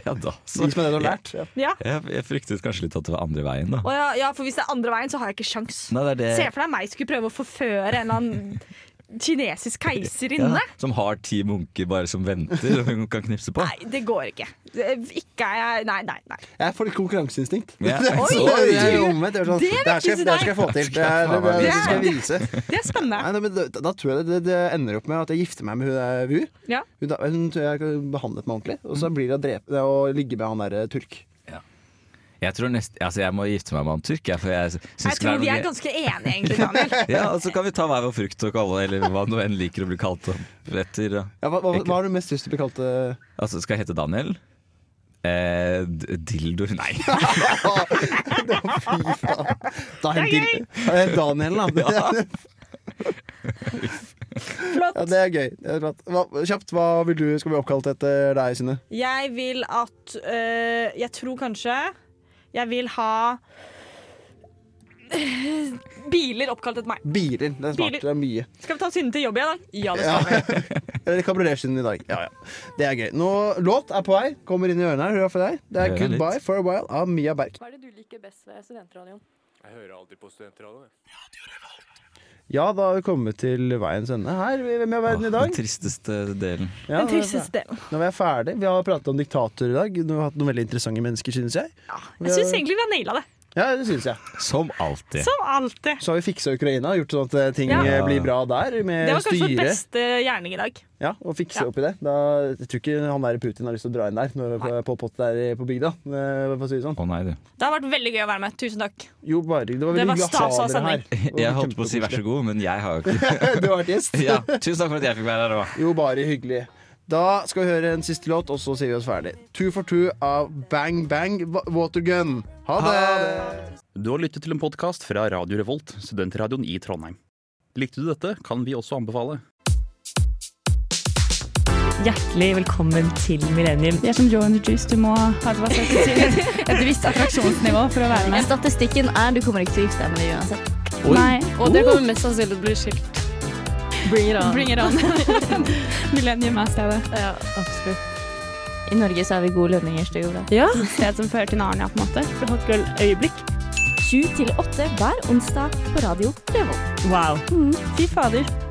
S1: Ja da. Så
S2: Gi som er det du har lært. Ja.
S3: Ja.
S1: jeg, jeg fryktet kanskje litt at det var andre veien, da.
S3: Og ja, ja, for hvis det er andre veien, så har jeg ikke sjans.
S1: Nei, det er
S3: Se
S1: det.
S3: for deg meg skulle prøve å forføre en eller annen kinesisk keiserinne?
S1: Som har ti munker bare som venter, som hun kan knipse på.
S3: Nei, det går ikke. Det- Ikke er jeg Nei, nei, nei.
S2: Jeg får litt konkurranseinstinkt.
S1: Ja.
S2: Så
S3: Oi,
S2: det er jo omvendt. Det er sånn,
S3: Det
S2: det her skal,
S3: vekkes i
S2: det her skal jeg få til. Det, er- det, er- det, skal jeg vise.
S3: Det er spennende.
S2: Nei, nei, men da, da tror jeg det, det, det ender opp med at jeg gifter meg med hun der Vu.
S3: Ja.
S2: Hun, da, hun tror jeg har behandlet meg ordentlig, og så blir det å, drepe, det å ligge med han der eh, turk.
S1: Jeg tror nest, altså jeg må gifte meg med han tyrk, jeg, for jeg syns
S3: Jeg
S1: ikke det
S3: tror
S1: noe
S3: vi er
S1: gøy.
S3: ganske enige, egentlig, Daniel.
S1: Ja, og så kan vi ta hver vår frukt og kalle Eller hva nå enn liker å bli kalt opp etter. da.
S2: Ja, hva, hva,
S1: Ikke.
S2: hva har du mest lyst til å bli kalt? eh?
S1: Altså, skal jeg hete Daniel? Eh, d- dildo Nei.
S2: Fy faen. Da henter Eh, Daniel, da. Ja,
S3: Flott.
S2: det er gøy. Det er flott. Hva, kjapt, hva vil du skal bli oppkalt etter deg, Synne?
S3: Jeg vil at øh, Jeg tror kanskje jeg vil ha eh, biler oppkalt etter meg.
S2: Biler. Det er smart.
S3: Biler.
S2: Det er mye.
S3: Skal vi ta Synne til jobb i dag? Ja, det
S2: Ja.
S3: skal vi.
S2: Eller kabriolet-Synne i dag. Ja, ja. Det er gøy. Nå, låt er på vei. Kommer inn i ørene her. Hurra for deg. Det er
S1: Hører litt.
S2: Goodbye for a while av Mia Berg.
S9: Hva er det du liker best ved studentradioen?
S2: Ja, da har vi kommet til veiens ende her. Hvem er verden i
S1: Den
S2: dag?
S1: tristeste delen.
S2: Ja,
S3: Den tristeste delen.
S2: Nå er vi ferdig. Vi har pratet om diktatorer i dag. Nå har vi hatt noen veldig interessante mennesker, synes jeg.
S3: Jeg syns egentlig vi har naila det.
S2: Ja, det synes jeg.
S1: Som alltid.
S3: Som alltid.
S2: Så har vi fiksa Ukraina, gjort sånn at eh, ting
S3: Ja.
S2: eh, blir bra der. Med
S3: Det var kanskje vår
S2: styre.
S3: beste gjerning i dag.
S2: Ja, og fikse
S3: Ja.
S2: opp i det. Da, jeg tror ikke han der Putin har lyst til å dra inn der, når på, på pott der i- på bygda. eh, For å si det sånn.
S1: Å nei, du.
S3: Det har vært veldig gøy å være med. Tusen takk.
S2: Jo, bare Det var
S3: Det
S2: veldig
S3: var
S2: hyggelig å
S3: stas altså,
S2: ha dere
S3: av
S2: her. Det var
S1: Jeg holdt på å si vær så god, men jeg har jo ikke
S2: kjempekoselig. Du har vært gjest.
S1: ja, Tusen takk for at jeg fikk være her òg.
S2: Jo, bare hyggelig. Da skal vi høre en siste låt, og så sier vi oss ferdig. Two for two av Bang Bang Wa- Watergun. Ha det!
S6: Du har lyttet til en podkast fra Radio Revolt, studentradioen i Trondheim. Likte du dette, kan vi også anbefale.
S10: Hjertelig velkommen til Millennium. Det er som Joe and the Juice, du må ha et, visst attraksjonsnivå for å være med.
S11: Statistikken er du kommer ikke til å gifte deg med det uansett.
S10: Oi.
S11: Nei.
S10: Og dere kommer
S11: mest sannsynlig til å bli skilt.
S10: Bring it on.
S11: Bring it on.
S10: Millennium er stedet.
S11: Ja, absolutt. I Norge så har vi gode lønninger, så det går bra.
S10: Ja. Sted som fører til Narnia, på en måte. Hot girl øyeblikk.
S11: Sju til åtte hver onsdag på Radio Revolt.
S10: Mm. Wow. Fy fader.